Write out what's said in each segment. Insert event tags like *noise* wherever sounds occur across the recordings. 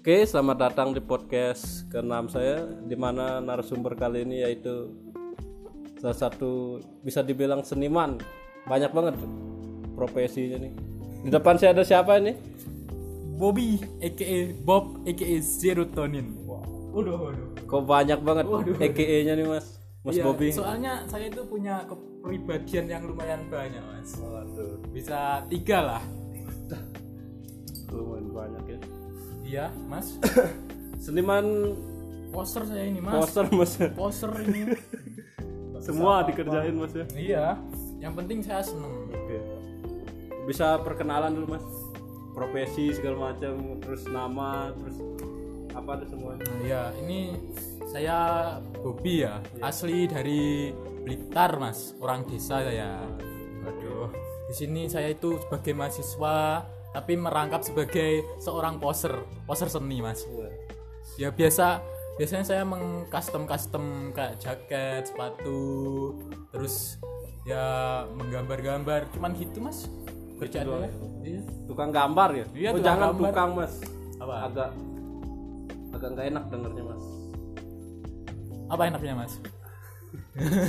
Oke, selamat datang di podcast ke-6 saya di mana narasumber kali ini yaitu salah satu bisa dibilang seniman. Banyak banget profesinya nih. Di depan saya ada siapa ini? Bobby aka Bob aka Serotonin. Wow. Waduh, waduh. Kok banyak banget EKE-nya nih, Mas. Mas Iya, Bobby. Soalnya saya itu punya kepribadian yang lumayan banyak, Mas. Bisa tiga lah. Lumayan banyak ya. Iya, Mas. Seniman Poser saya ini, Mas. poster Mas. Poser ini. Semua dikerjain Mas ya. iya. Yang penting saya seneng. Oke. Bisa perkenalan dulu mas, profesi segala macam, terus nama, terus apa ada semuanya. Nah, Iya, ini saya Bobby ya. Asli dari Blitar, Mas. Orang desa saya. Waduh. Di sini saya itu sebagai mahasiswa tapi merangkap sebagai seorang poser, poser seni, Mas. Iya. ya biasa biasanya saya meng custom custom kayak jaket sepatu terus ya menggambar-gambar cuman gitu mas kerjaannya iya Tukang gambar ya? Iya, oh tukang jangan gambar. tukang mas, apa agak agak nggak enak dengernya *laughs* mas. apa enaknya mas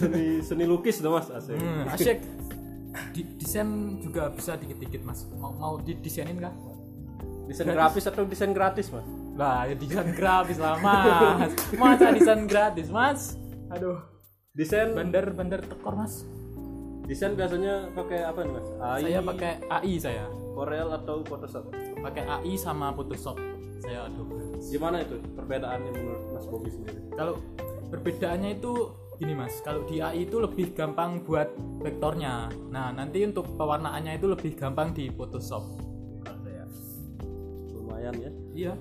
Seni seni lukis dong mas, asik. hmm, *laughs* asyik Di- desain juga bisa dikit-dikit mas mau mau didesainin kah Desain grafis atau desain gratis mas? lah ya desain gratis lah mas masa desain gratis mas aduh Desain bandar-bandar tekor mas desain biasanya pakai apa nih mas? AI, saya pakai AI saya Corel atau Photoshop? pakai AI sama Photoshop saya adobe Gimana itu perbedaannya menurut Mas Bobby sendiri? kalau perbedaannya itu gini mas kalau di AI itu lebih gampang buat vektornya nah nanti untuk pewarnaannya itu lebih gampang di Photoshop Lumayan ya. iya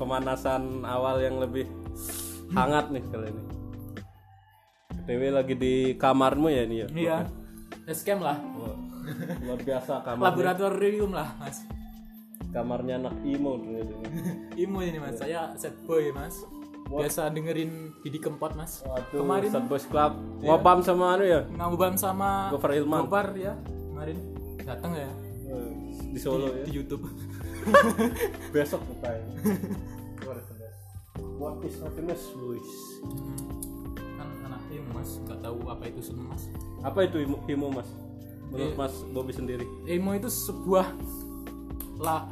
pemanasan awal yang lebih hangat nih kali ini. Dewi lagi di kamarmu ya *laughs* ini ya? iya Escape lah Wah, luar biasa kamarnya. laboratorium lah mas Kamarnya anak Imo ternyata ini. Imo ini mas Iya. saya set boy mas biasa dengerin Didi Kempot mas *laughs* Waduh, Kemarin- Sad Boys Club ngobam sama anu ya? ngabubam sama Gofar Hilman Gopar ya kemarin datang ya Eh, di Solo ya. di YouTube *laughs* Besok bukain. *laughs* Luar biasa. What is happiness, Luis? kan anak Imo mas nggak tahu apa itu semua mas Apa itu Imo, Imo, Mas? Menurut Mas Bobby sendiri? emo itu sebuah la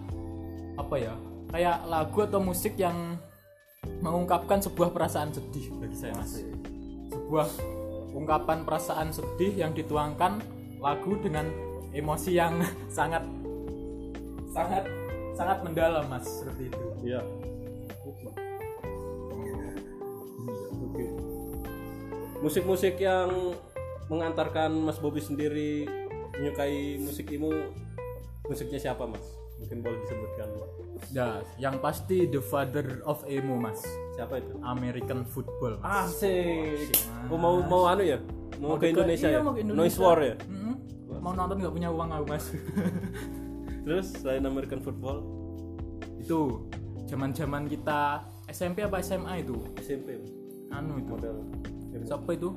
apa ya kayak lagu atau musik yang mengungkapkan sebuah perasaan sedih bagi saya mas sebuah ungkapan perasaan sedih yang dituangkan lagu dengan emosi yang *laughs* sangat sangat sangat mendalam mas seperti itu Iya. *laughs* Oke. Musik-musik yang mengantarkan Mas Bobby sendiri menyukai musik emo musiknya siapa Mas? Mungkin boleh disebutkan Mas. ya yang pasti the father of emo mas Siapa itu? American football mas. Asik. Oh, mau mau anu ya? Ah, Mau, ke deka- Indonesia iya, ya? mau ke Indonesia. Noise War ya? Mm-mm. mau nonton nggak punya uang aku mas *laughs* Terus selain American Football itu zaman-zaman kita SMP apa SMA itu SMP anu itu model emo. siapa itu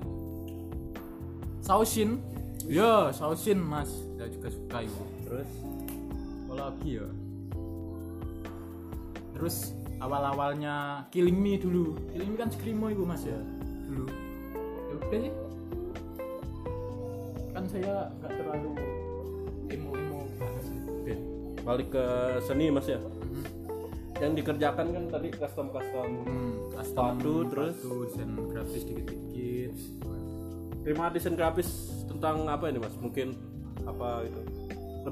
Sausin ya Sausin mas saya juga suka itu Terus apa lagi ya terus awal-awalnya Killing Me dulu Killing Me kan skrimo itu mas ya dulu ya udah sih kan saya nggak terlalu emo-emo banget sih Ben. balik ke seni Mas ya. Yang dikerjakan kan tadi custom-custom Hmm, custom Sepatu, terus? sepatu, desain grafis dikit-dikit terima desain grafis tentang apa ini mas mungkin apa gitu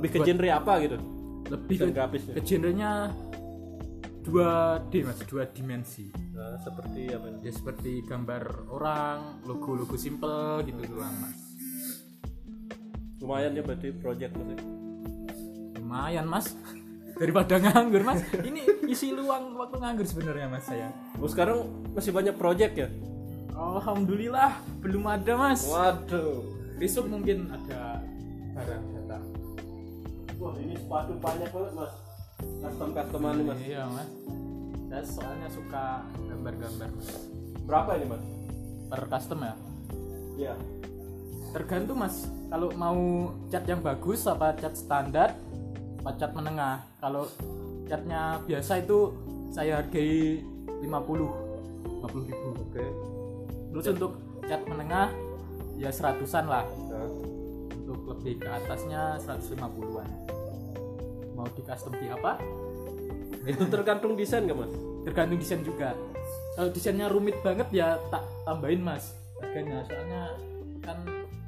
lebih ke genre apa gitu lebih Desain ke, grafisnya. ke genrenya 2D mas, dua dimensi nah, seperti apa ini ya seperti gambar orang, logo-logo simple gitu doang mas lumayan ya berarti project mas ya. lumayan mas *laughs* daripada nganggur mas ini isi luang waktu nganggur sebenarnya mas saya oh sekarang masih banyak project ya Alhamdulillah belum ada mas waduh besok mungkin ada barang datang wah ini sepatu banyak banget mas custom customan ini mas iya mas saya soalnya suka gambar-gambar mas berapa ini mas per custom ya ya tergantung mas kalau mau cat yang bagus apa cat standar apa cat menengah kalau catnya biasa itu saya hargai 50 50 ribu Oke. terus untuk cat menengah ya seratusan lah Nah, untuk lebih ke atasnya 150-an mau di custom di apa itu tergantung desain gak mas? tergantung desain juga kalau desainnya rumit banget ya tak tambahin mas harganya soalnya kan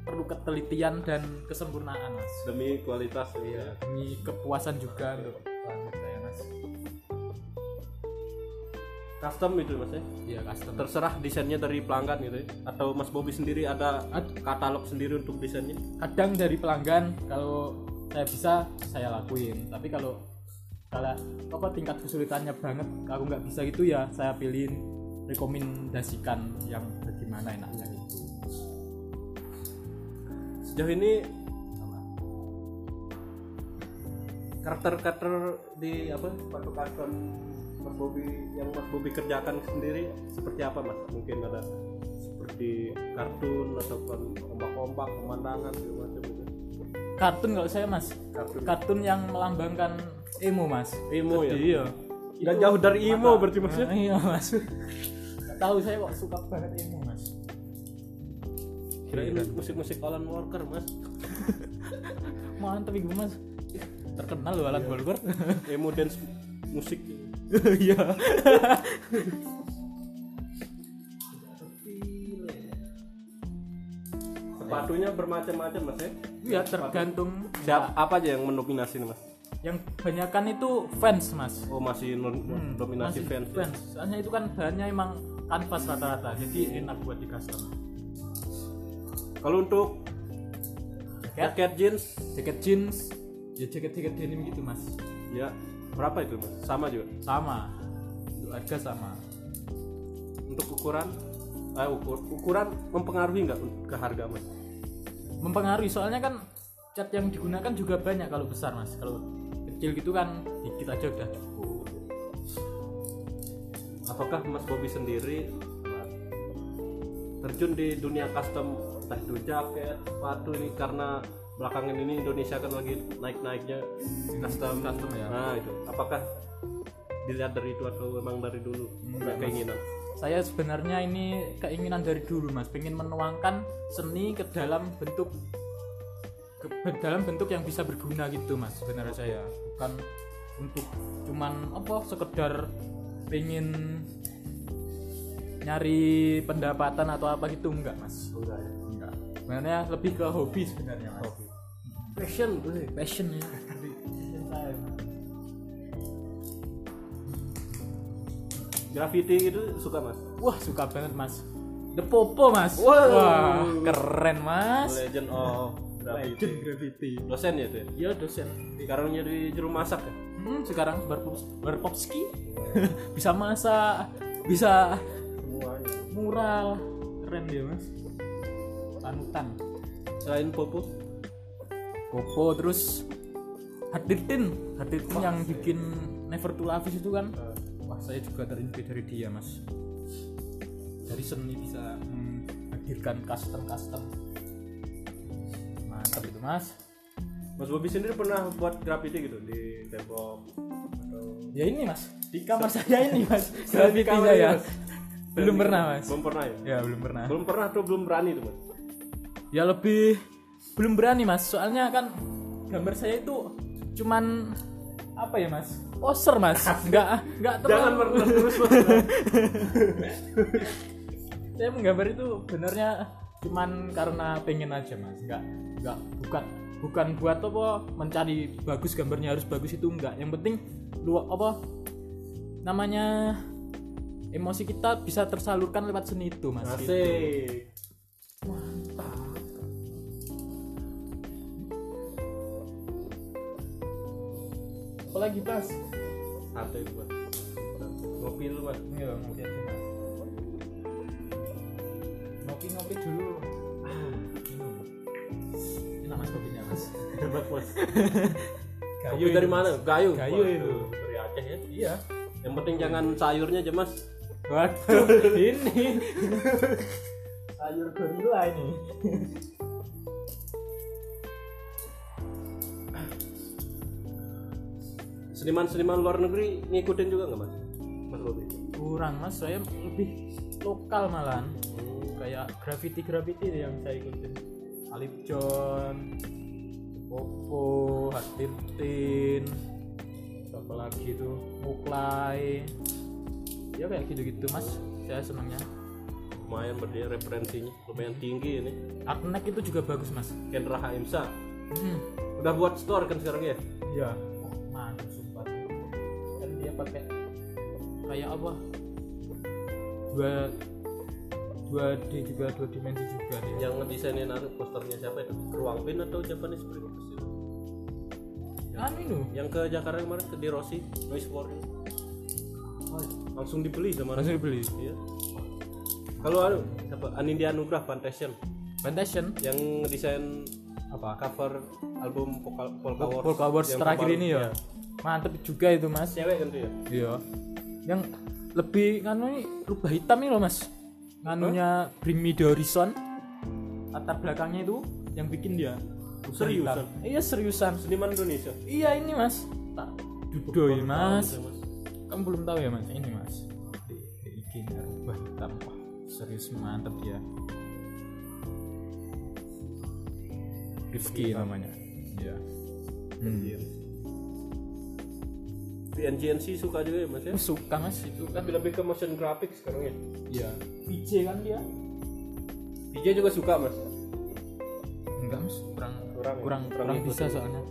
perlu ketelitian dan kesempurnaan mas Demi kualitas ya. demi kepuasan juga untuk pelanggan saya mas Custom itu mas ya. ya custom Terserah desainnya dari pelanggan gitu ya. Atau Mas Bobby sendiri ada Ad- katalog sendiri untuk desainnya? kadang dari pelanggan kalau saya bisa saya lakuin tapi kalau kalau apa tingkat kesulitannya banget aku nggak bisa gitu ya saya pilihin rekomendasikan yang bagaimana enaknya itu Sejauh ini karakter-karakter di apa kartun Mas Bobi yang Mas Bobi kerjakan sendiri seperti apa Mas? Mungkin ada seperti kartun ataupun ombak-ombak, pemandangan segala macam gitu. kartun kalau saya mas Kartun. kartun yang melambangkan emo mas Emo ya. iya Nggak jauh dari emo berarti ya? maksudnya. Nah, iya mas Nggak tahu saya kok suka banget emo mas Kirain Nah, musik-musik Alan Walker, Mas. mantep ibu mas terkenal loh Iya. alat Walker Emo dance musik. *laughs* *laughs* iya Sepatunya bermacam-macam, Mas ya. iya tergantung Siap, apa aja yang mendominasi nih, Mas? yang kebanyakan itu fans mas Oh, masih non dominasi Masih fans. ya? fans soalnya itu kan bahannya emang kanvas rata-rata jadi enak buat di custom Kalau untuk Jaket? jaket jeans jaket jeans ya jaket-jaket denim gitu mas Ya, berapa itu mas? Sama juga. sama untuk harga sama Untuk ukuran, eh, ukur, ukuran mempengaruhi nggak un- ke harga mas? mempengaruhi soalnya kan cat yang digunakan juga banyak kalau besar mas kalau kecil gitu kan dikit aja udah Hmm. cukup Apakah mas Bobby sendiri terjun di dunia custom entah itu jaket, sepatu ini karena belakangan ini Indonesia kan lagi naik-naiknya custom. custom ya. Nah itu, apakah dilihat dari itu atau memang dari dulu nggak keinginan? saya sebenarnya ini keinginan dari dulu mas pengen menuangkan seni ke dalam bentuk ke ke dalam bentuk yang bisa berguna gitu mas sebenarnya saya bukan untuk cuman apa sekedar pengen nyari pendapatan atau apa gitu enggak mas Enggak ya. enggak sebenarnya lebih ke hobi sebenarnya mas Fashion, boleh. passion ya Passion saya, Mas. graffiti itu suka mas? wah suka banget mas The Popo mas Wow. wah keren mas Legend of graffiti. Legend Gravity. Dosen ya itu ya? Iya dosen. Sekarang jadi juru masak ya? Hmm, sekarang berpops berpopski. *laughs* bisa masak, bisa Semuanya. mural. Keren dia, Mas. Panutan. Selain Popo, Popo terus Hadirtin, Hadirtin yang bikin Never to Love Is itu kan. Wah, saya juga terinspirasi dari dia, Mas. Dari seni bisa menghadirkan custom-custom. Mantap itu, Mas. Mas Bobi sendiri pernah buat graffiti gitu di tembok atau Ya ini, Mas. Di kamar saya ini, *laughs* Mas. Di Graffiti kamar saya. ini, Mas. Belum pernah, Mas. belum pernah ya? Ya belum pernah. Belum pernah tuh belum berani tuh mas. Ya lebih belum berani mas. Soalnya kan gambar saya itu cuman apa ya mas? Poser *laughs* mas. Nggak nggak Jangan terlalu. pernah terus mas. Saya menggambar itu benernya cuman karena pengen aja mas. Nggak nggak bukan bukan buat apa mencari bagus gambarnya harus bagus itu enggak. Yang penting lu apa namanya emosi kita bisa tersalurkan lewat seni itu mas. Gitu. Asik. Apalagi mas? Santai tuh mas. Ngopi dulu mas. Iya, ngopi aja mas. Ngopi ngopi dulu. Ah, minum. Enak mas kopinya mas. Hebat mas. Kayu Gayu dari mana? Gayu. Gayu itu. Dari Aceh ya. Iya. Yang penting jangan sayurnya aja mas. Waduh, ini. Sayur gorila ini. Seniman-seniman luar negeri ngikutin juga nggak mas? berarti kurang mas saya lebih lokal malahan kayak graffiti graffiti yang saya ikutin Alip John Popo Hatirtin apa lagi itu Muklai ya kayak gitu-gitu mas saya senangnya lumayan berarti ya referensinya lumayan tinggi ini Artnek itu juga bagus mas Kendra Haimsa hmm. udah buat store kan sekarang ya Iya. Oh, mantap sumpah. Kan dia pakai kayak apa? Dua dua D juga dua dimensi juga dia. yang ngedesainin anu posternya siapa itu Ruang Pin atau Japanese Princess itu Anu itu. yang ke Jakarta kemarin ke di Rossi Noise Warning langsung dibeli sama Langsung dibeli. Iya. Kalau anu siapa? Anindya Anugrah Plantation Plantation yang desain apa? cover album Polka, Polka Wars. Oh, Polka Wars yang terakhir terbaru. ini ya. Mantep juga itu mas. Cewek kan tuh ya. Iya. Yang lebih nganu ini rubah hitam ini loh mas. Nganunya Bring Me The Horizon. Latar belakangnya itu yang bikin dia. Rubah Seriusan? hitam. Iya seriusan. Seniman Indonesia. Iya ini mas. Tak dudoi mas. Tahu saya, Mas. Kamu belum tahu ya mas. Ini mas. Di, di IG nya rubah hitam. Wah, serius mantep ya. Rifki namanya. Iya. BNGNC suka juga ya Mas ya. Saya suka mas itu kan. Tapi lebih ke motion graphics sekarang ya. Iya. VJ kan dia. DJ juga suka Mas. Enggak mas. Kurang Kurang ya? kurang Kurang kurang ngikut bisa *laughs* soalnya.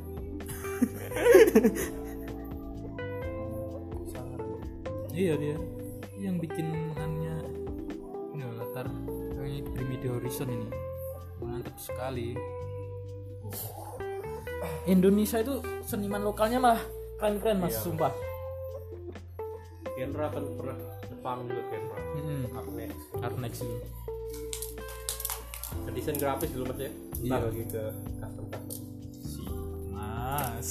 iya dia. Yang bikin anunya ini loh, latar ini Primitive Horizon ini. Mantap sekali. Indonesia itu seniman lokalnya malah keren-keren mas, Iya. sumpah. Kendra kan pernah Jepang juga Kendra. Mm-mm. Up next. Art next itu. Ke desain grafis dulu Mas ya. Entar Iya. lagi ke custom custom. Si *laughs* Mas.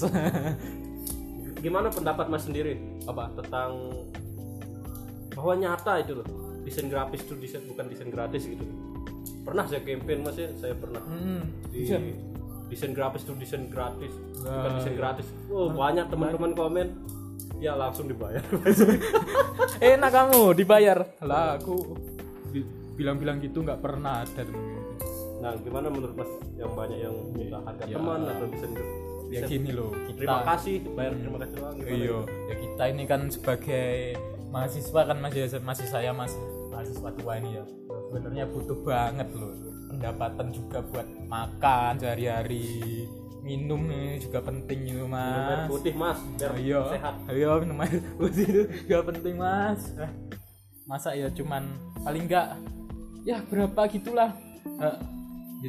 Gimana pendapat Mas sendiri Apa? tentang bahwa nyata itu loh desain grafis itu desain bukan desain gratis gitu. Pernah saya campaign Mas ya, saya pernah Mm-mm. di desain grafis tuh desain gratis bukan Nah, desain gratis oh banyak teman-teman komen ya langsung *laughs* dibayar enak kamu dibayar lah aku di- bilang-bilang gitu nggak pernah ada temen gitu. nah gimana menurut mas yang banyak yang minta harga Ya. teman atau desain ya gini loh terima kita kasih bayar terima kasih doang gimana iya ya kita ini kan sebagai mahasiswa kan masih masih saya mas mahasiswa tua ini ya sebenarnya butuh banget loh pendapatan juga buat makan sehari-hari minum ini juga penting itu Minum air mas putih mas biar Ayo, sehat ayo Oh, iya. minum air putih itu gak penting mas. Eh, Masa ya cuman paling enggak ya berapa gitulah. Eh,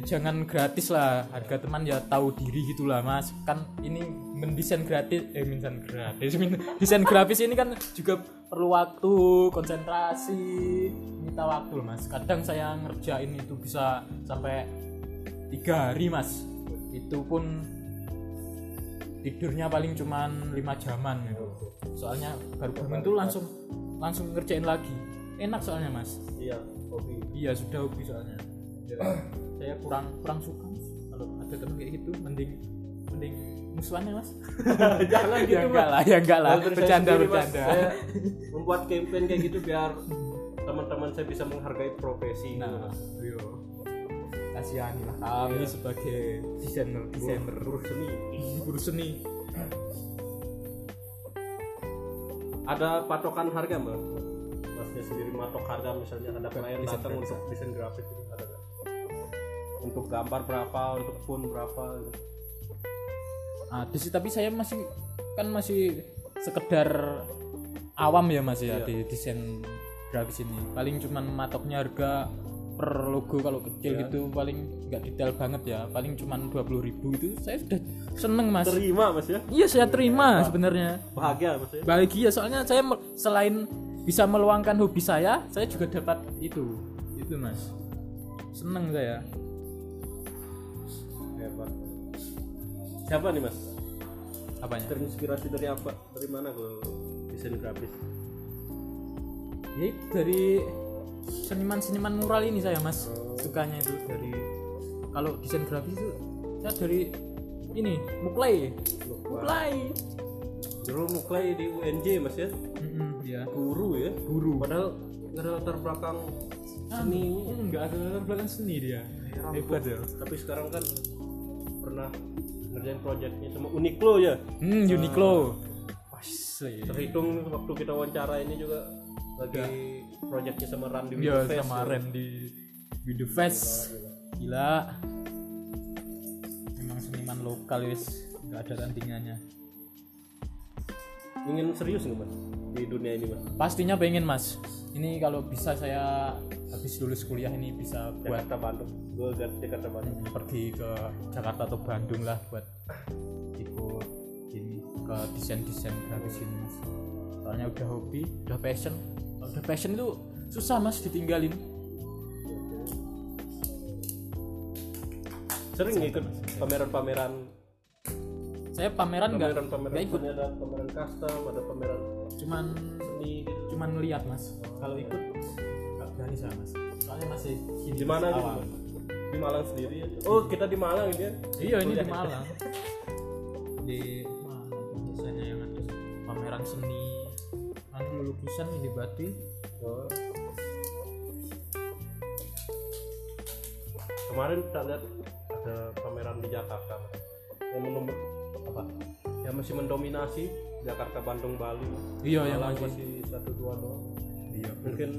ya jangan gratis lah harga teman ya tahu diri gitulah mas kan ini mendesain gratis eh mendesain gratis *laughs* men- desain grafis ini kan juga perlu waktu konsentrasi minta waktu loh mas kadang saya ngerjain itu bisa sampai tiga hari mas itu pun tidurnya paling cuman lima jaman gitu soalnya baru bangun tuh langsung langsung ngerjain lagi enak soalnya mas iya *coughs* hobi iya sudah hobi soalnya saya kurang kurang suka mas. kalau ada temen kayak gitu mending mending musuhannya mas jangan *laughs* ya gitu enggak mas lah ya enggak lah Kalau dari saya bercanda sendiri, Mas, bercanda *laughs* saya membuat campaign kayak gitu biar teman-teman saya bisa menghargai profesi nah yo kasihan lah kami sebagai desainer desainer buruh seni guru seni ada patokan harga mbak masnya sendiri matok harga misalnya ada klien desain datang grafis. untuk desain grafis gitu ada nggak? untuk gambar berapa untuk font berapa gitu. ada sih tapi saya masih kan masih sekedar awam ya mas ya di desain grafis ini paling cuman matoknya harga per logo kalau kecil gitu paling nggak detail banget ya paling cuman 20.000 itu saya sudah seneng mas terima mas ya iya saya terima sebenarnya bahagia mas ya bahagia soalnya saya me- selain bisa meluangkan hobi saya saya juga dapat itu itu mas seneng saya Hebat. siapa nih mas apanya terinspirasi dari apa dari mana kalau desain grafis Ya, dari seniman-seniman mural ini saya mas sukanya itu dari kalau desain grafis itu saya dari ini muklai Muklai. muklai dulu muklai di UNJ mas ya Mm-mm. ya guru ya guru padahal nggak ada latar belakang Nah, seni enggak ada latar belakang seni dia hebat ya tapi sekarang kan pernah ngerjain proyeknya sama Uniqlo ya hmm Uniqlo Ah. asli terhitung waktu kita wawancara ini juga lagi proyeknya sama Randy ya Widowface sama Randy Video Fest gila memang seniman lokal wis enggak ada tandingannya ingin serius nggak mas di dunia ini mas pastinya pengen mas ini kalau bisa saya habis lulus kuliah ini bisa buat Jakarta Bandung gue Jakarta Bandung pergi ke Jakarta atau Bandung lah buat ikut ini ke desain desain grafis ini mas soalnya udah hobi udah passion Kalau udah passion itu susah mas ditinggalin Hmm. sering ikut pameran-pameran saya pameran nggak pameran-pameran nggak ikut Ini ada pameran custom ada pameran cuman seni gitu. cuman lihat mas kalau ikut nggak berani saya mas soalnya masih gini, di mana mas, gitu awal. Mas? di Malang sendiri ya? oh kita di Malang ini ya iya ini di Malang di Malang biasanya yang ada pameran seni anu lukisan di batik Oh. kemarin kita lihat ada pameran di Jakarta Mas. yang menom- apa yang masih mendominasi Jakarta Bandung Bali iya yang Malang masih masih satu dua doang iya mungkin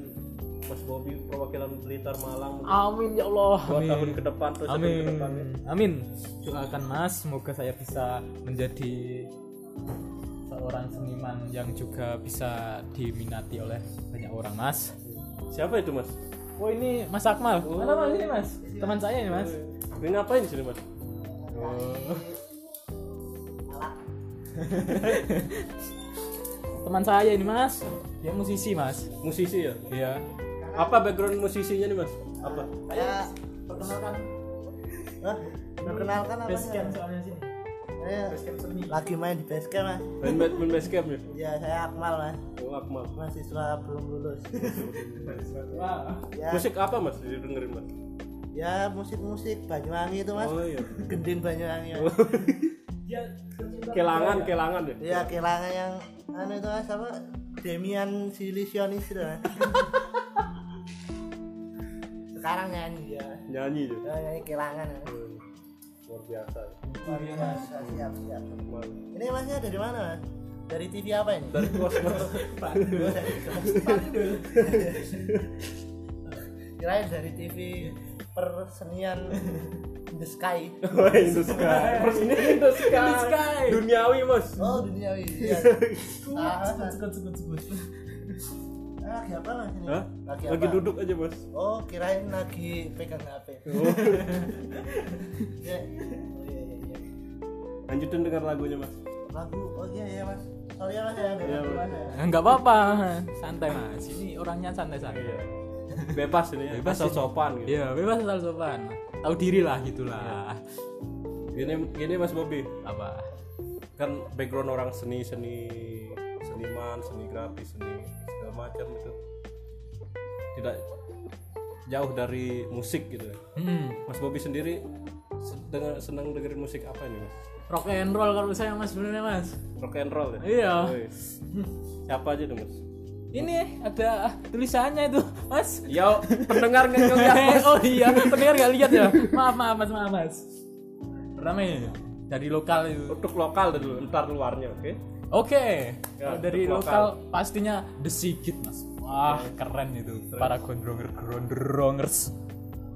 Mas Bobby perwakilan Blitar Malang amin ya Allah dua tahun ke depan terus tahun ke Amin. depan ya. Amin. Doakan Mas, semoga saya bisa menjadi seorang seniman yang juga bisa diminati oleh banyak orang, Mas. siapa itu Mas Oh, ini Mas Akmal. Mana Mas ini, Mas? Teman saya ini, Mas. ini ngapain sini Mas Teman saya ini, Mas. Dia musisi, Mas. musisi ya Iya. apa background musisinya nih Mas apa saya perkenalkan Hah? perkenalkan apa Basecamp nih? soalnya sini. Saya lagi main di basecamp mas main badminton base camp ya ya saya Akmal mas oh Akmal mahasiswa belum lulus Wah. ya musik apa Mas dengerin Mas ya musik-musik Banyuwangi itu mas oh iya gendin Banyuwangi mas. Dia Nah, kelangan kelangan ya ya kelangan yang anu itu mas apa Demian Silisionis itu mas sekarang nyanyi ya nyanyi ya ya nyanyi kelangan mas. luar biasa Iya, Mas. siap siap Akmal. ini masnya dari mana mas dari TV apa ini dari Cosmos kirain dari TV persenian in the sky Wah, Indosky. Terus ini Indosky. Indosky. Duniawi, Mas. oh dunia ini ya. ah, Sekut, sekut, sekut. ah, lagi apa mas ini Hah? lagi, Lagi apa? duduk Oh. aja, Mas. oh kirain lagi pegang HP ya. Oh, iya, iya, iya. Lanjutin dengar lagunya, Mas. lagu oh iya iya mas sorry ya mas ya dari Iya, lagu Mas. mas ya. Enggak apa-apa. Santai, Mas. Ini orangnya santai-santai. Iya. Bebas ini ya. Bebas asal ini. sopan gitu. Iya, bebas asal sopan. Tahu diri lah gitulah. Gini gini Mas Bobby, Apa? kan background orang seni-seni seniman, seni grafis, seni segala macam itu tidak jauh dari musik gitu. ya. Hmm, Mas Bobby sendiri sedang, senang dengerin musik apa ini, Mas? rock and roll kalau saya Mas sebenarnya Mas. Rock and roll ya? Iya. Woi. Siapa aja tuh, Mas? Ini ada tulisannya itu, Mas. Ya, pendengar nggak ya. ngeliat, Eh, oh iya, pendengar nggak lihat ya. Maaf, maaf, Mas, maaf, Mas. Rame dari lokal itu. Untuk lokal dulu, ntar luarnya, oke? Oke, Ya, kalau dari untuk lokal pastinya The Sigit mas. Wah keren itu para gondronger gondrongers.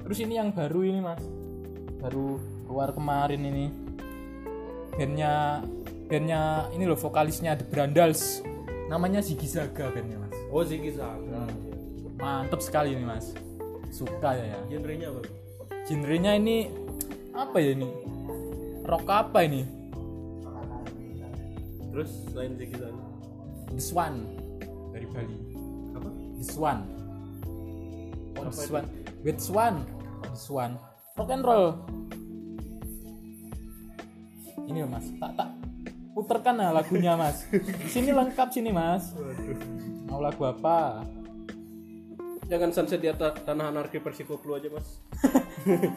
Terus ini yang baru ini mas, baru keluar kemarin ini. Bandnya bandnya ini loh vokalisnya The Brandals. Namanya Ziggy Zaga bandnya mas. Oh, Ziggy Zaga. Mantep sekali ini mas. Suka ya. ya. Genrenya apa? Genrenya ini apa ya ini? Rock apa ini? Terus selain Ziggy Zaga, This One dari Bali. apa? This one. Oh, this one. With Swan. Oh, this one. Rock and roll. Ini loh, mas, tak tak puterkan lah lagunya *laughs* mas. sini lengkap sini mas. Mau lagu apa? Jangan sunset di atas tanah anarki Persikoplo aja, Mas.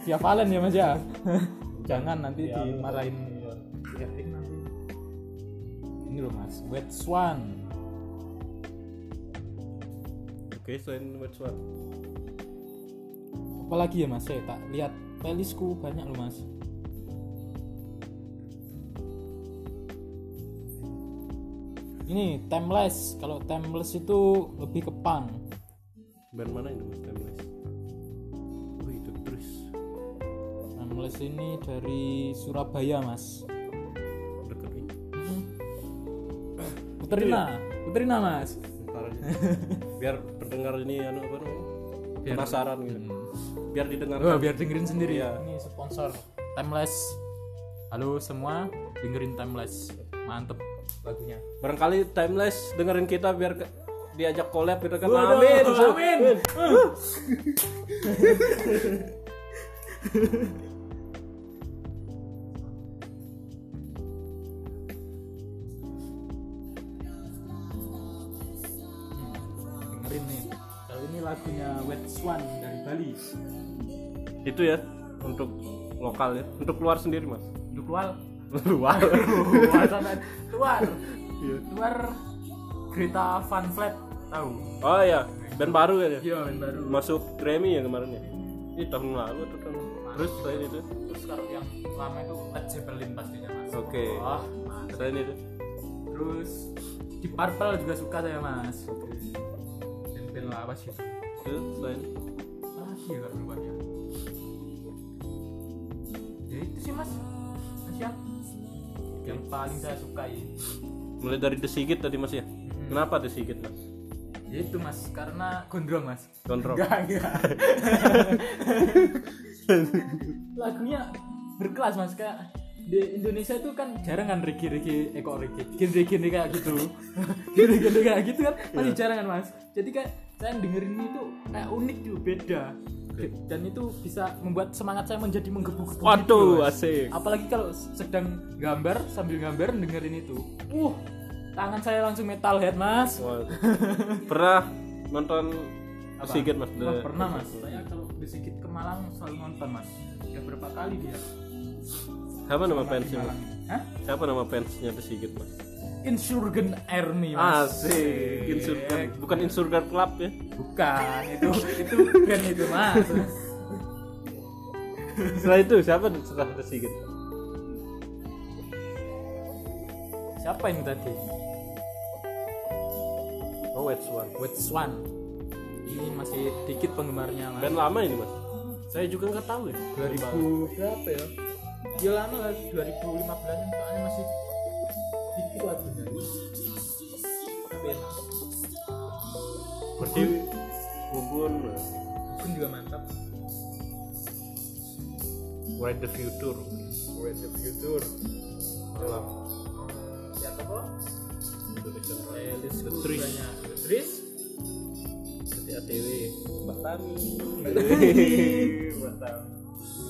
Via Valen ya *laughs* mas ya. Jangan nanti dimarahin. Ini loh mas, Wet Swan. desain website apalagi ya mas saya tak lihat playlistku banyak loh mas ini timeless kalau timeless itu lebih ke punk band mana itu mas timeless oh itu terus timeless ini dari Surabaya mas deket ini Putrina Putrina mas Ntar aja. biar pendengar ini anu apa namanya penasaran gitu biar didengar Wah, biar dengerin sendiri ya. Iya. ini sponsor timeless halo semua dengerin timeless mantep lagunya barangkali timeless dengerin kita biar ke- diajak collab gitu kan amin amin dengerin nih kalau ini lagunya Wet Swan dari Bali itu ya untuk lokal ya untuk luar sendiri mas untuk *laughs* luar luar luar sana. luar Iya. luar Greta Van Flat tahu oh ya band baru kayaknya iya yang baru masuk Grammy ya kemarin ya ini tahun lalu atau tahun terus saya itu terus kalau yang lama itu Led Zeppelin pastinya mas Oke. Wah, mantep. saya itu terus di Purple juga suka saya mas dan band apa sih terus saya ini ah gila lupa ya ya itu sih mas mas ya yang paling saya sukai mulai dari The Sigit tadi mas ya kenapa The Sigit mas ya itu mas karena gondrong mas kontrol enggak enggak *laughs* lagunya berkelas mas kayak di Indonesia itu kan jarang kan Ricky Ricky Eko Ricky Ricky Ricky kayak gitu *laughs* Ricky Ricky kayak gitu Iya. kan masih jarang kan mas jadi kayak saya dengerin itu kayak unik tuh beda dan itu bisa membuat semangat saya menjadi menggebu-gebu gitu loh, waduh Mas. asik apalagi kalau sedang gambar sambil gambar dengerin itu uh tangan saya langsung metalhead mas Wah. pernah nonton The Sigit mas Wah, The- pernah mas saya kalau sedikit ke Malang selalu nonton mas ya berapa kali dia siapa nama fansnya mas? Malang Hah? siapa nama fansnya The Sigit mas Insurgent Army mas asik Iya. insurgan bukan insurgan club ya bukan itu itu band itu mas setelah itu gitu. siapa setelah The Sigit siapa ini tadi oh it's one Wet Swan ini masih dikit penggemarnya mas band lama ini mas saya juga nggak tahu ya 2000 berapa ya ya lama lah 2015 an soalnya masih dikit lagunya tapi enak berarti Gugun Mungkin juga mantap Where the Future Wet the Future malam siapa kok Indonesia playlist Tris. banyak Tris seperti ATW Mbak Tami Mbak Tam.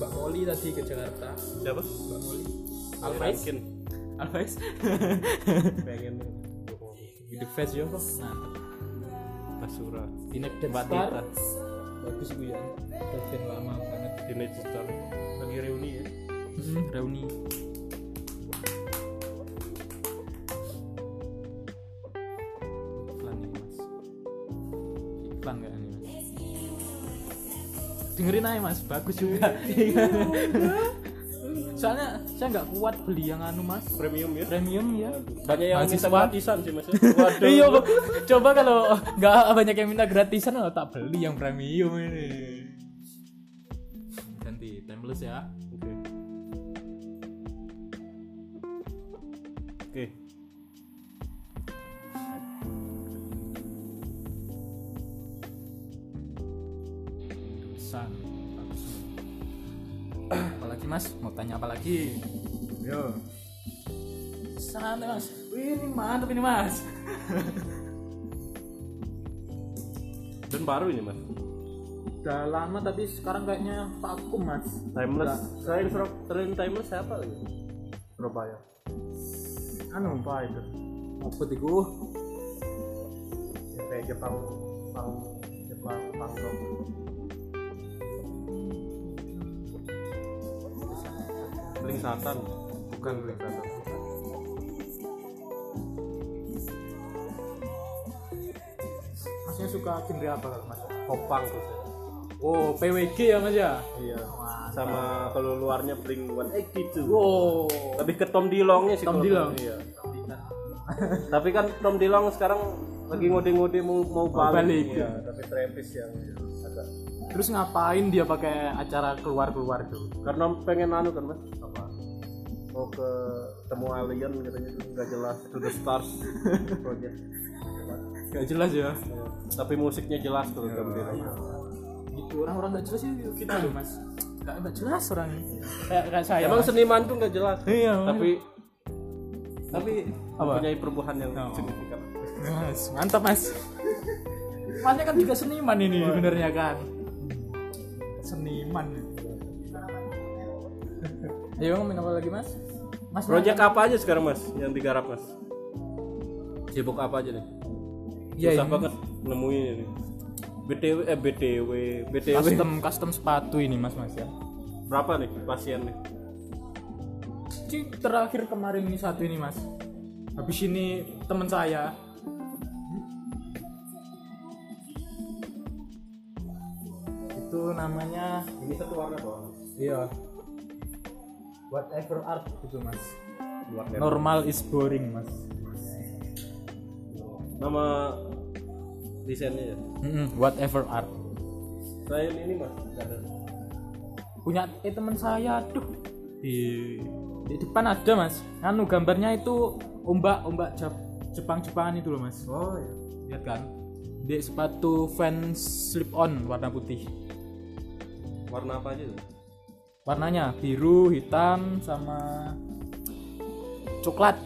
Mbak Moli tadi ke Jakarta siapa? Mbak Moli Alfaiz Alfaiz Alfaiz pengen With the face yo kok mantap Basura Inek dan Mbak Star Tita bagus Bu ya Tapi lama banget Teenage Star lagi reuni ya hmm, Reuni iklan nih mas iklan gak nih mas dengerin aja mas bagus juga soalnya saya nggak kuat beli yang anu mas premium ya premium ya banyak yang Mahasiswa. minta gratisan sih mas ya. *laughs* waduh iya Bu. coba kalau nggak banyak yang minta gratisan oh, tak beli yang premium ini ganti timeless ya Oke. Oke. San. apalagi mas mau tanya apa lagi yo santai mas Wih, ini mantap ini mas Dan baru ini mas. udah lama tapi sekarang kayaknya vakum mas Timeless. Nah, Selain Sur- selain timeless siapa lagi? Surabaya. ya? anu Apa itu? apa tiku Ya, Yang kayak Jepang, Jepang, Jepang, Jepang. Bling Satan. Bukan Bling Satan. masnya suka genre apa kalau mas? Popang tuh saya. Oh PWG ya mas ya? Iya. Sama kalau luarnya Blink 182. Wow. Lebih ke Tom Dilongnya sih. Tom kalau- Dilong. Iya. Tapi kan Tom Dilong sekarang lagi ngode-ngode mau mau balik. balik. Iya, tapi Travis ya, yang agak Terus ngapain dia pakai acara keluar-keluar tuh? karena pengen anu kan mas apa mau ke temu alien katanya itu nggak jelas to the stars *laughs* project Gak jelas ya. tapi musiknya jelas kalau Tom Dilong Gitu orang-orang gak jelas ya kita loh mas. Gak, gak jelas orangnya. Kayak kayak saya. emang seniman tuh nggak jelas Iya. Tapi tapi tapi Apa? mempunyai perubahan yang Oh. signifikan mas, mantap mas. Masnya kan juga seniman ini sebenarnya kan. Seniman. *laughs* Ayo ngomongin apa lagi mas? Mas project apa aja sekarang mas yang digarap mas sibuk apa aja nih Ya, susah ini. banget nemuin ini btw eh btw btw custom custom sepatu ini mas mas ya. berapa nih pasien nih Ci, terakhir kemarin ini satu ini mas. Habis ini teman saya itu namanya ini satu warna doang iya whatever art gitu mas. Oh. Normal is boring mas. nama desainnya ya Mm-mm, whatever art. saya ini, ini mas nggak ada. Punya eh teman saya aduh di di depan ada mas. Anu gambarnya itu ombak ombak Jepang Jepangan itu loh mas. oh iya lihat kan di sepatu Vans slip on warna putih warna apa aja tuh warnanya biru hitam sama coklat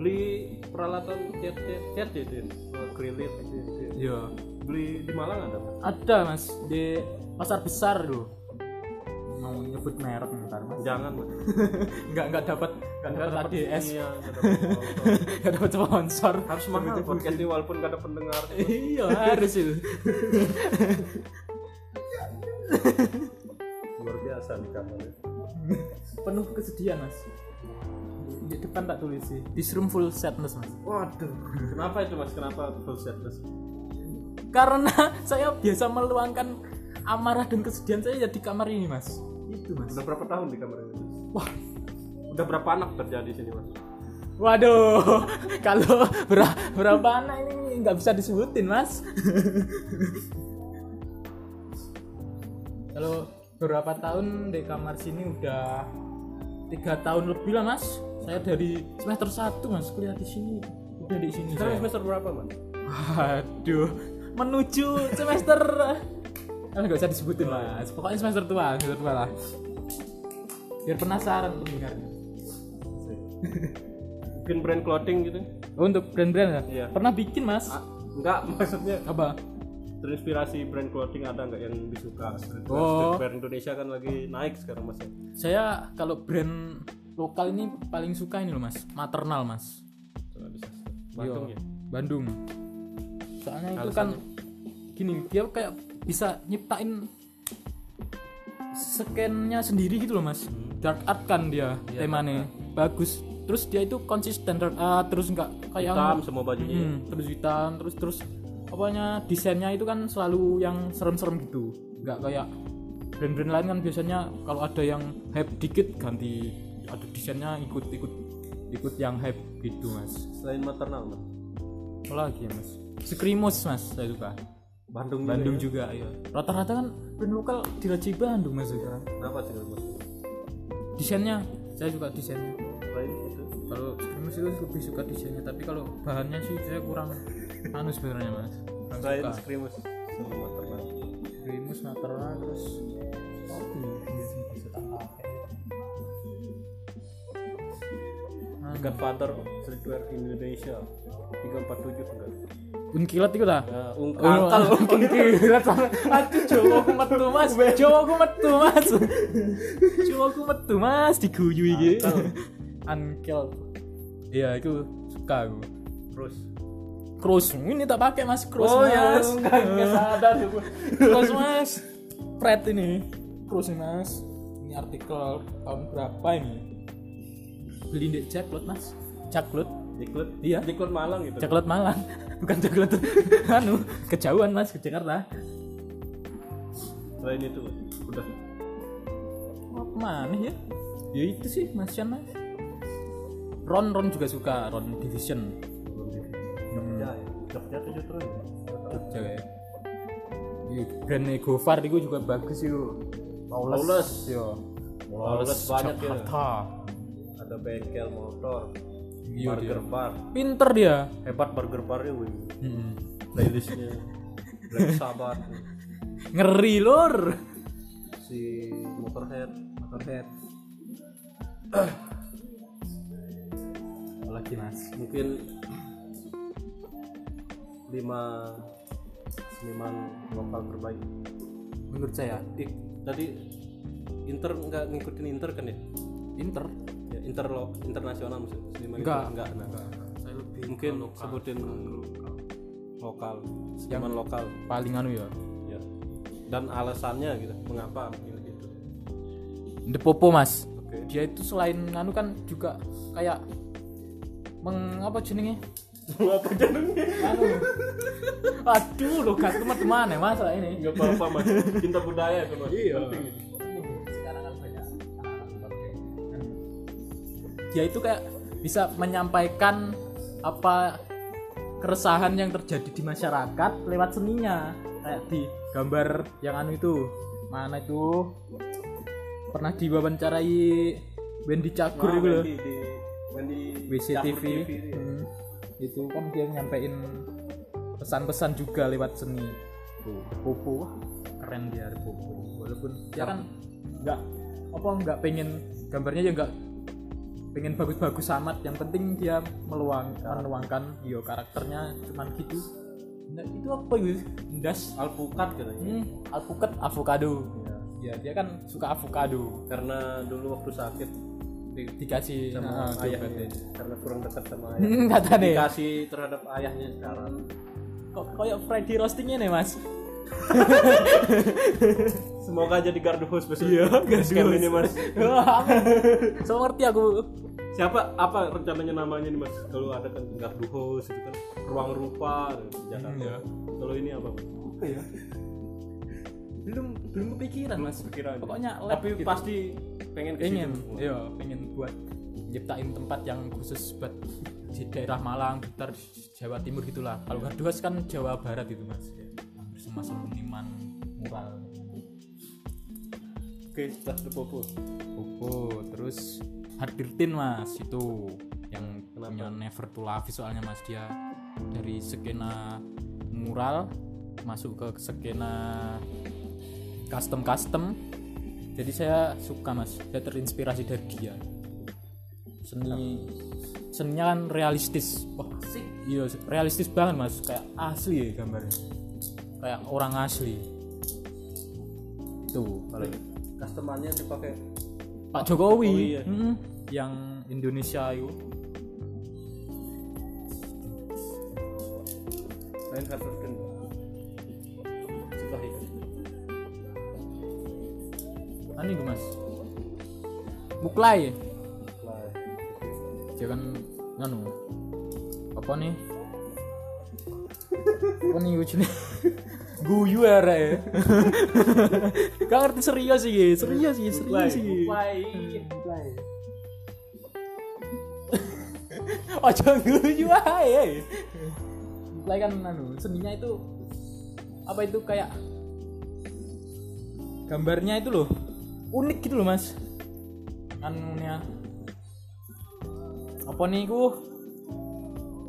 beli peralatan cat cat cat ya Din? akrilit Din, Din. ya beli di Malang ada Mas? ada mas di pasar besar loh mau nyebut merek ntar mas jangan mas nggak nggak dapat nggak dapat ADS iya nggak dapat sponsor. *laughs* nggak dapat sponsor harus mahal podcast ini walaupun gak ada pendengar iya harus itu luar biasa nih kamarnya penuh kesedihan mas di depan tak tulis sih this room full sadness mas waduh kenapa itu mas kenapa full set mas karena *laughs* saya biasa meluangkan amarah dan kesedihan saya ya di kamar ini mas itu mas udah berapa tahun di kamar ini Mas? wah udah berapa anak terjadi sini mas waduh *laughs* kalau ber- berapa anak ini nggak bisa disebutin mas kalau berapa tahun di kamar sini udah tiga tahun lebih lah mas saya dari semester 1 mas kuliah di sini udah di sini sekarang saya. semester berapa mas Aduh, menuju semester *laughs* Ah, nggak usah disebutin mas Pokoknya semester tua, semester tua lah Biar penasaran pendengar bikin brand clothing gitu oh, Untuk brand-brand ya? Iya. Pernah bikin mas? Ah, enggak *laughs* maksudnya Apa? terinspirasi brand clothing ada nggak yang disuka streetwear, Oh. streetwear Indonesia kan lagi naik sekarang mas ya. Saya kalau brand lokal ini paling suka ini loh mas Maternal mas Coba bisa. Bandung Iya, ya Bandung Soalnya itu kan Gini, dia kayak bisa nyiptain scan-nya sendiri gitu loh mas dark art kan dia temanya bagus terus dia itu konsisten dark art terus nggak kayak hitam semua bajunya Hmm, terus hitam terus terus apanya desainnya itu kan selalu yang serem-serem gitu nggak kayak brand-brand lain kan biasanya kalau ada yang hype dikit ganti ada desainnya ikut-ikut ikut yang hype gitu mas selain maternal mas apa lagi ya mas Skrimus mas saya suka Bandung juga Bandung ya? juga iya rata-rata kan brand lokal diraci Bandung mas sekarang kenapa sih mas desainnya saya suka desainnya selain itu kalau Skrimus itu lebih suka desainnya tapi kalau bahannya sih saya kurang anu sebenarnya mas kurang selain suka skrimus sama maternal Skrimus Maternal terus Godfather of streetwear Indonesia 347 enggak Unkilat itu lah. nah, ungkal unkilat. Aduh, Jawa ku metu, Mas. Jawa ku metu, Mas. Jawa ku metu, Mas, diguyu iki. Unkel. Iya, itu suka aku. terus Cross ini tak pakai Mas, cross Oh, ya, Mas. *laughs* enggak, enggak sadar ya, tuh. Cross Mas. Pret ini. Cross ini, Mas. Ini artikel tahun berapa ini? Beli di Jaklot Mas. Jaklot. Diklut Iya. Diklut Malang gitu Coklat Malang. *laughs* bukan Jakarta anu kejauhan mas ke Jakarta Selain itu udah apa mana ya ya itu sih mas Chan mas Ron Ron juga suka Ron Division Jogja ya. Jogja tujuh terus ya. Jogja ya Iya, brandnya Gofar itu juga bagus yuk Lawless. yo Lawless banyak ya. Jakarta ada bengkel motor, iya dia burger bar, pinter dia hebat burger barnya wih. Mm-mm. *laughs* Playlistnya Black Sabbath, ngeri lor si Motorhead, Motorhead. apalagi mas Mungkin lima seniman lokal terbaik. menurut saya Ik, tadi Inter nggak ngikutin Inter kan ya? pinter ya Inter lo, internasional maksudnya seniman Nggak. itu enggak. Nah, saya lebih mungkin sebutin lokal, seniman lokal. paling anu ya ya dan alasannya gitu mengapa gitu. pilih itu The Popo mas oke dia itu selain anu kan juga kayak mengapa jenenge apa jenengnya anu aduh lo gak teman-teman ya masalah ini nggak apa-apa mas cinta budaya itu mas iya dia itu kayak bisa menyampaikan apa keresahan yang terjadi di masyarakat lewat seninya kayak di gambar yang anu itu mana itu pernah diwawancarai Wendy Cagur itu loh di di di WCTV iya. ya. Hmm. itu kan dia nyampein pesan-pesan juga lewat seni tuh Popo wah, keren dia ada Popo walaupun Ya, dia kan nggak apa nggak pengen gambarnya ya nggak pengen bagus-bagus amat yang penting dia meluang menuangkan bio karakternya cuman gitu nah, itu apa gitu das alpukat katanya hmm, alpukat avocado ya dia kan suka avocado karena dulu waktu sakit di- dikasih sama nah, ayahnya diobatin. karena kurang dekat *laughs* sama ayah Hmm, kata deh dikasih terhadap ayahnya sekarang kok kayak Freddy roastingnya nih *laughs* mas semoga jadi gardu host besok iya gardu ini mas Wah, amin. so ngerti aku siapa apa rencananya namanya nih mas kalau ada kan gardu host itu kan ruang rupa gitu, di Jakarta kalau ini apa mas ya? belum belum kepikiran mas pikiran Pokoknya lab tapi gitu. pasti pengen ke pengen situ. iya pengen buat nyiptain tempat yang khusus buat di daerah Malang Blitar Jawa Timur gitulah kalau Iya. nggak Duas kan Jawa Barat itu mas bersama seniman mural oke setelah The Popo Popo terus Hadirtin mas itu yang punya Never to Love soalnya mas dia dari skena mural masuk ke skena custom custom jadi saya suka mas saya terinspirasi dari dia seni seninya kan realistis wah iya realistis banget mas kayak asli ya gambarnya kayak orang asli tuh customernya dipakai Pak Jokowi Jokowi, ya. Mm-mm. Oh, iya. yang Indonesia itu lain kan. Hadirtin setelah itu aneh gue Kan mas Muklai Nah, dia kan nganu apa nih apa nih ujungnya guyu era ya gak ngerti serius sih Gi. serius sih serius sih *laughs* Ojo Hmm. guyu ae. Mulai kan anu, seninya itu apa itu kayak gambarnya itu loh unik gitu loh mas anunya apa nih ku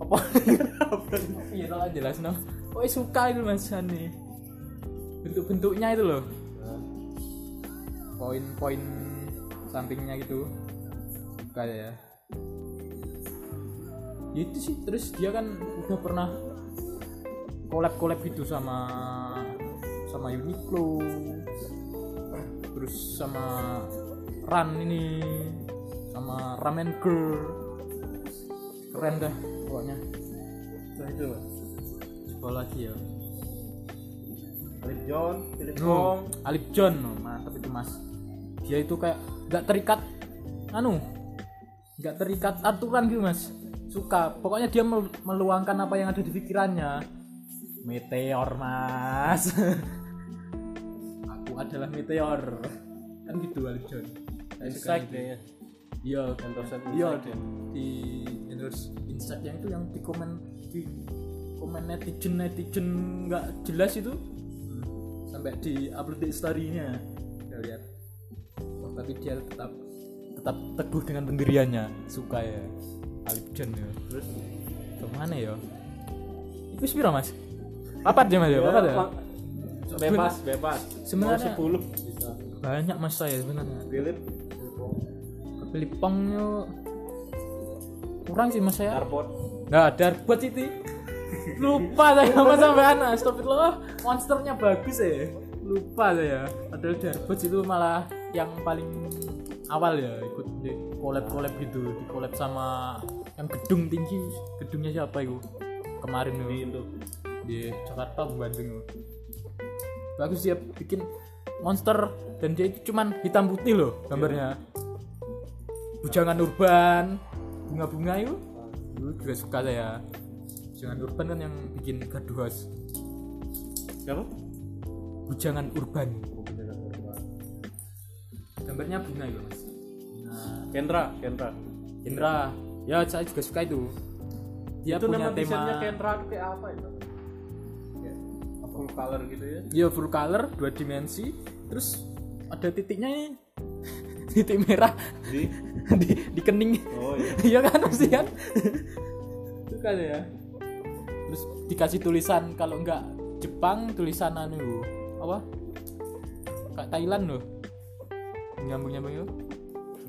apa iya tau aja jelas no oh suka itu mas nih bentuk-bentuknya itu loh poin-poin sampingnya gitu suka ya Ya itu sih terus dia kan udah pernah collab collab gitu sama sama Uniqlo terus sama Ran ini sama Ramen Girl keren dah pokoknya setelah Nah, itu mas coba lagi ya Alip John Philip Wong Alip Alip John oh, mantap itu mas dia itu kayak nggak terikat anu nggak terikat aturan gitu mas suka pokoknya dia melu- meluangkan apa yang ada di pikirannya meteor mas *laughs* aku adalah meteor kan gitu Alif John Saya suka Insek gitu. kayaknya. iya Endorsean iya Insek ya. di endorse Insek yang itu yang di komen di komen netizen netizen nggak jelas itu sampai di upload di storynya kita lihat Wah, tapi dia tetap tetap teguh dengan pendiriannya suka ya Alif John ya Terus kemana ya itu sepira mas apa aja Iya, mas ya apa ya Ma- bebas, bebas. Sebenarnya- Mau 10 bisa. banyak mas saya sebenarnya Philip pilih pongnya kurang sih mas saya Darpot. Nah, Darkbot itu lupa saya sama sampean. Astagfirullah, monsternya bagus ya. Lupa saya. Padahal Darkbot itu malah yang paling awal ya ikut di collab-collab gitu, di collab sama yang gedung tinggi. Gedungnya siapa itu? Kemarin di itu di Jakarta apa Bandung. itu. Bagus dia bikin monster dan dia itu cuman hitam putih loh Iya. gambarnya. Bujangan urban, bunga-bunga itu dulu juga suka saya bujangan urban kan yang bikin gaduh house Siapa? bujangan urban gambarnya bunga itu mas nah, Kendra, Kendra. Indra ya saya juga suka itu dia itu punya nama tema desainnya Kendra itu kayak apa itu? Full color gitu ya. ya full color dua dimensi terus ada titiknya ini *laughs* titik merah Di di, *laughs* di kening Oh iya. *laughs* iya kan pasti *laughs* kan suka ya terus dikasih tulisan kalau enggak Jepang tulisan anu apa kayak Thailand loh nyambung nyambung itu *laughs*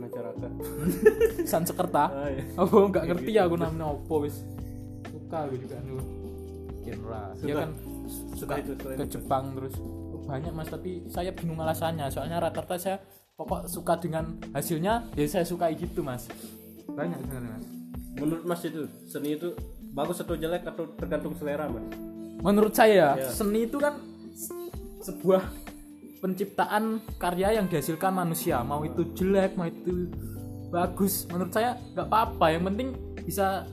Masyarakat. Sansekerta Ah, iya. Gitu. aku enggak ngerti aku namanya opo wis suka aku juga anu genre dia Suka. kan suka itu, suka ke Jepang terus Oh, banyak mas tapi saya bingung alasannya soalnya rata-rata saya pokok suka dengan hasilnya ya saya sukai gitu mas banyak sebenarnya mas Menurut Mas itu seni itu bagus atau jelek atau tergantung selera, Mas. menurut saya Ya. seni itu kan se- sebuah penciptaan karya yang dihasilkan manusia mau itu jelek mau itu bagus menurut saya nggak apa-apa yang penting bisa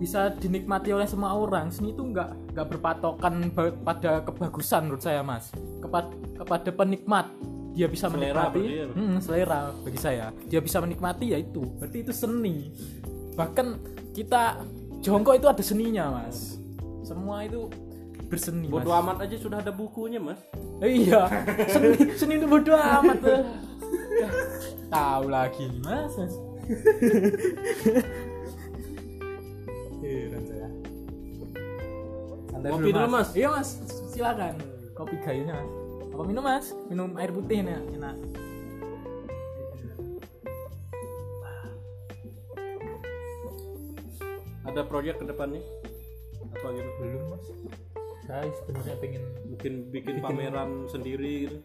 bisa dinikmati oleh semua orang seni itu nggak nggak berpatokan ba- pada kebagusan menurut saya mas kepada kepada penikmat dia bisa Selera menikmati berarti ya, Mas? Mm, selera bagi saya dia bisa menikmati ya itu berarti itu seni bahkan kita jongkok itu ada seninya mas semua itu berseni mas. Bodoh amat aja sudah ada bukunya, Mas. iya seni seni itu bodoh amat tuh tahu lagi mas mas Heran saya. Santai Kopi dulu, Mas. Iya mas, silakan. Kopi gayunya mas. Apa minum mas? Minum air putih enak. enak. Ada proyek ke depannya? Apa gitu? Belum mas. Saya sebenarnya pengen. Mungkin bikin pameran sendiri gitu.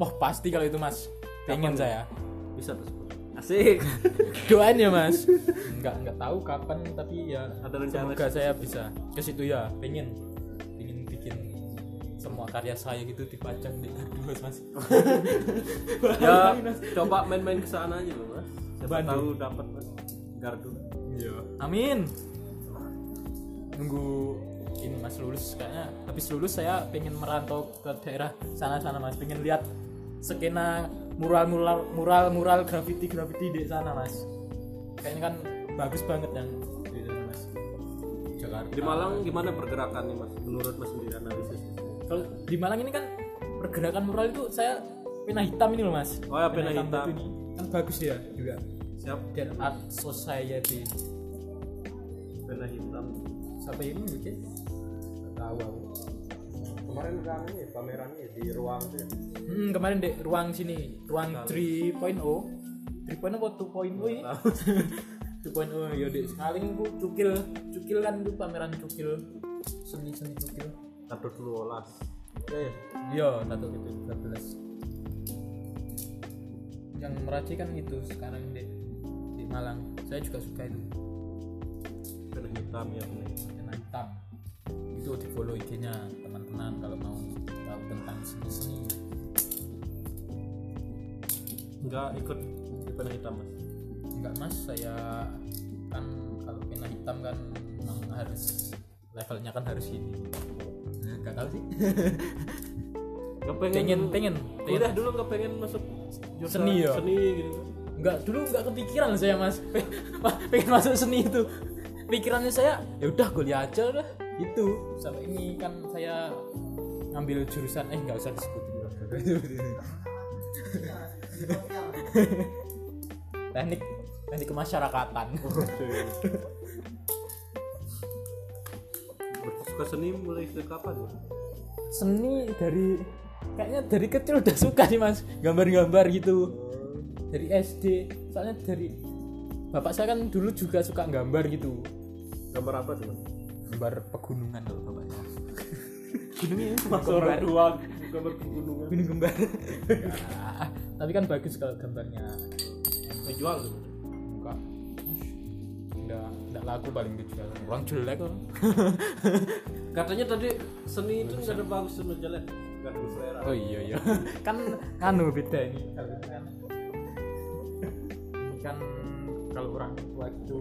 Wah pasti kalau itu mas. Pengen saya. Bisa tuh. Asik. doain ya mas *laughs* nggak nggak tahu kapan tapi ya Ada rencana semoga saya bisa ke situ ya pengen pengen bikin semua karya saya gitu dipajang di *laughs* kardus mas *laughs* ya coba main-main ke sana aja loh mas siapa Bandung. tahu dapat mas gardu Iya. amin nunggu ini mas lulus kayaknya habis lulus saya pengen merantau ke daerah sana sana mas pengen lihat skena mural mural mural mural graffiti graffiti di sana mas kayaknya kan bagus banget yang di sana mas Jakarta di Malang gimana pergerakannya mas menurut mas sendiri analisis kalau di Malang ini kan pergerakan mural itu saya pena hitam ini loh mas Oh ya, pena hitam. batu ini kan bagus dia juga siap dan art society pena hitam siapa ini mungkin tahu aku kemarin kan ini pamerannya di ruang tuh ya. hmm, kemarin dek ruang sini ruang oh. 3.0 3.0 atau 2.0 ini *laughs* 2.0 ya dek sekali ku cukil cukil kan itu pameran cukil seni seni cukil atau dulu olas iya satu itu 12 yang meraci kan itu sekarang dek di Malang saya juga suka itu pena hitam ya pena hitam. yang hitam itu di follow IG-nya teman-teman kalau mau tahu tentang seni seni nggak ikut di pena hitam mas enggak mas saya kan kalau pena hitam hitam kan emang harus levelnya kan harus gini nggak tahu sih Nggak pengen, pengen pengen, pengen. udah dulu nggak pengen masuk jurusan Seni ya? seni gitu nggak dulu nggak kepikiran saya mas *laughs* Pe- ma- pengen masuk seni itu pikirannya saya ya udah kuliah aja udah itu sampai ini kan saya ngambil jurusan eh nggak usah disebutin *laughs* teknik teknik kemasyarakatan suka seni mulai sejak kapan ya? seni dari kayaknya dari kecil udah suka sih mas gambar-gambar gitu dari SD soalnya dari bapak saya kan dulu juga suka gambar gitu gambar apa tuh gambar pegunungan loh bapak ya. saya masuk orang tua gambar pegunungan gunung kembar Ah, tapi kan bagus kalau gambarnya dijual tuh enggak enggak enggak laku paling gitu dijual orang jelek orang katanya tadi seni itu nggak ada bagus sama jelek nggak ada selera oh iya *laughs* iya kan kanu beda ini kalau ini kan ini kan kalau orang tua itu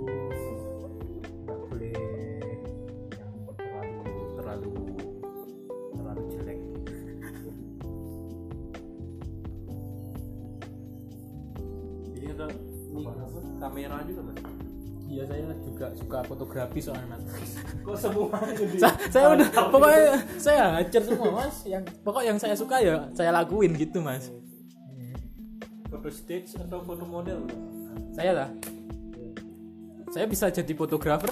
nggak boleh yang terlalu terlalu terlalu jelek ini ada ini apa? kamera juga mas iya saya juga suka fotografi soalnya mas kok semua *laughs* jadi Sa- saya udah pokoknya saya hajar semua mas yang pokok yang saya suka ya saya lakuin gitu mas foto stage atau foto model saya lah saya bisa jadi fotografer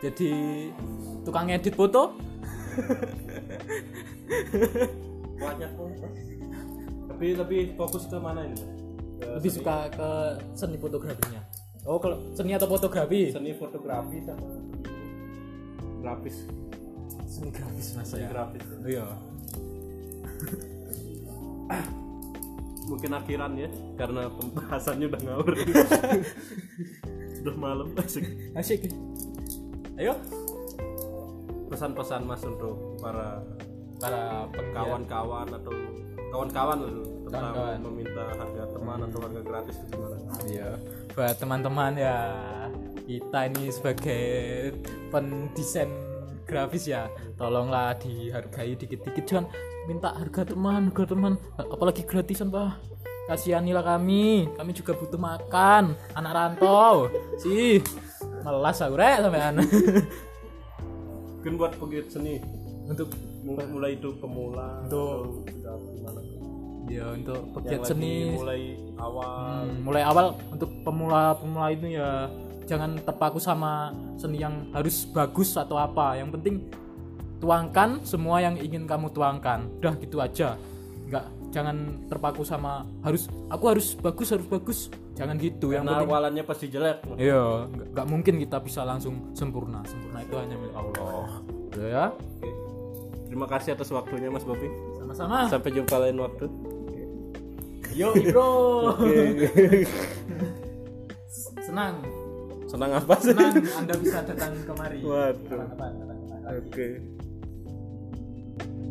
jadi tukang edit foto banyak kok tapi lebih fokus ke mana ini Ke lebih seni- suka ke seni fotografinya oh kalau seni atau fotografi seni fotografi sama seni grafis seni grafis mas seni saya grafis iya mungkin akhiran ya karena pembahasannya udah *laughs* ngawur sudah malam asik asik ayo pesan-pesan mas untuk para para pengkawan kawan-kawan atau Ya. kawan-kawan lah dulu tentang Kawan-kawan. meminta harga teman atau harga gratis itu gimana Iya. Buat teman-teman ya, kita ini sebagai pendesain grafis ya, tolonglah dihargai dikit-dikit jangan minta harga teman, harga teman, apalagi gratisan pak. Kasihanilah kami, kami juga butuh makan, anak rantau, sih melas aku rek sampean. *laughs* mungkin buat pegiat seni untuk mu- mulai itu pemula Untuk- atau sudah gimana ya untuk yang pegiat lagi seni mulai awal Hmm, mulai awal untuk pemula-pemula itu ya jangan terpaku sama seni yang harus bagus atau apa. Yang penting tuangkan semua yang ingin kamu tuangkan. Udah gitu aja. Enggak jangan terpaku sama harus aku harus bagus harus bagus. Jangan gitu. Yang karena penting Nah, awalannya pasti jelek iya, nggak nggak mungkin kita bisa langsung sempurna. Sempurna itu hanya milik Allah. Udah ya. Oke. terima kasih atas waktunya mas Bobi Sama-sama. sampai jumpa lain waktu Yo, Bro. Senang. senang apa sih Senang Anda bisa datang kemari. waduh Kapan-kapan, kapan-kapan. oke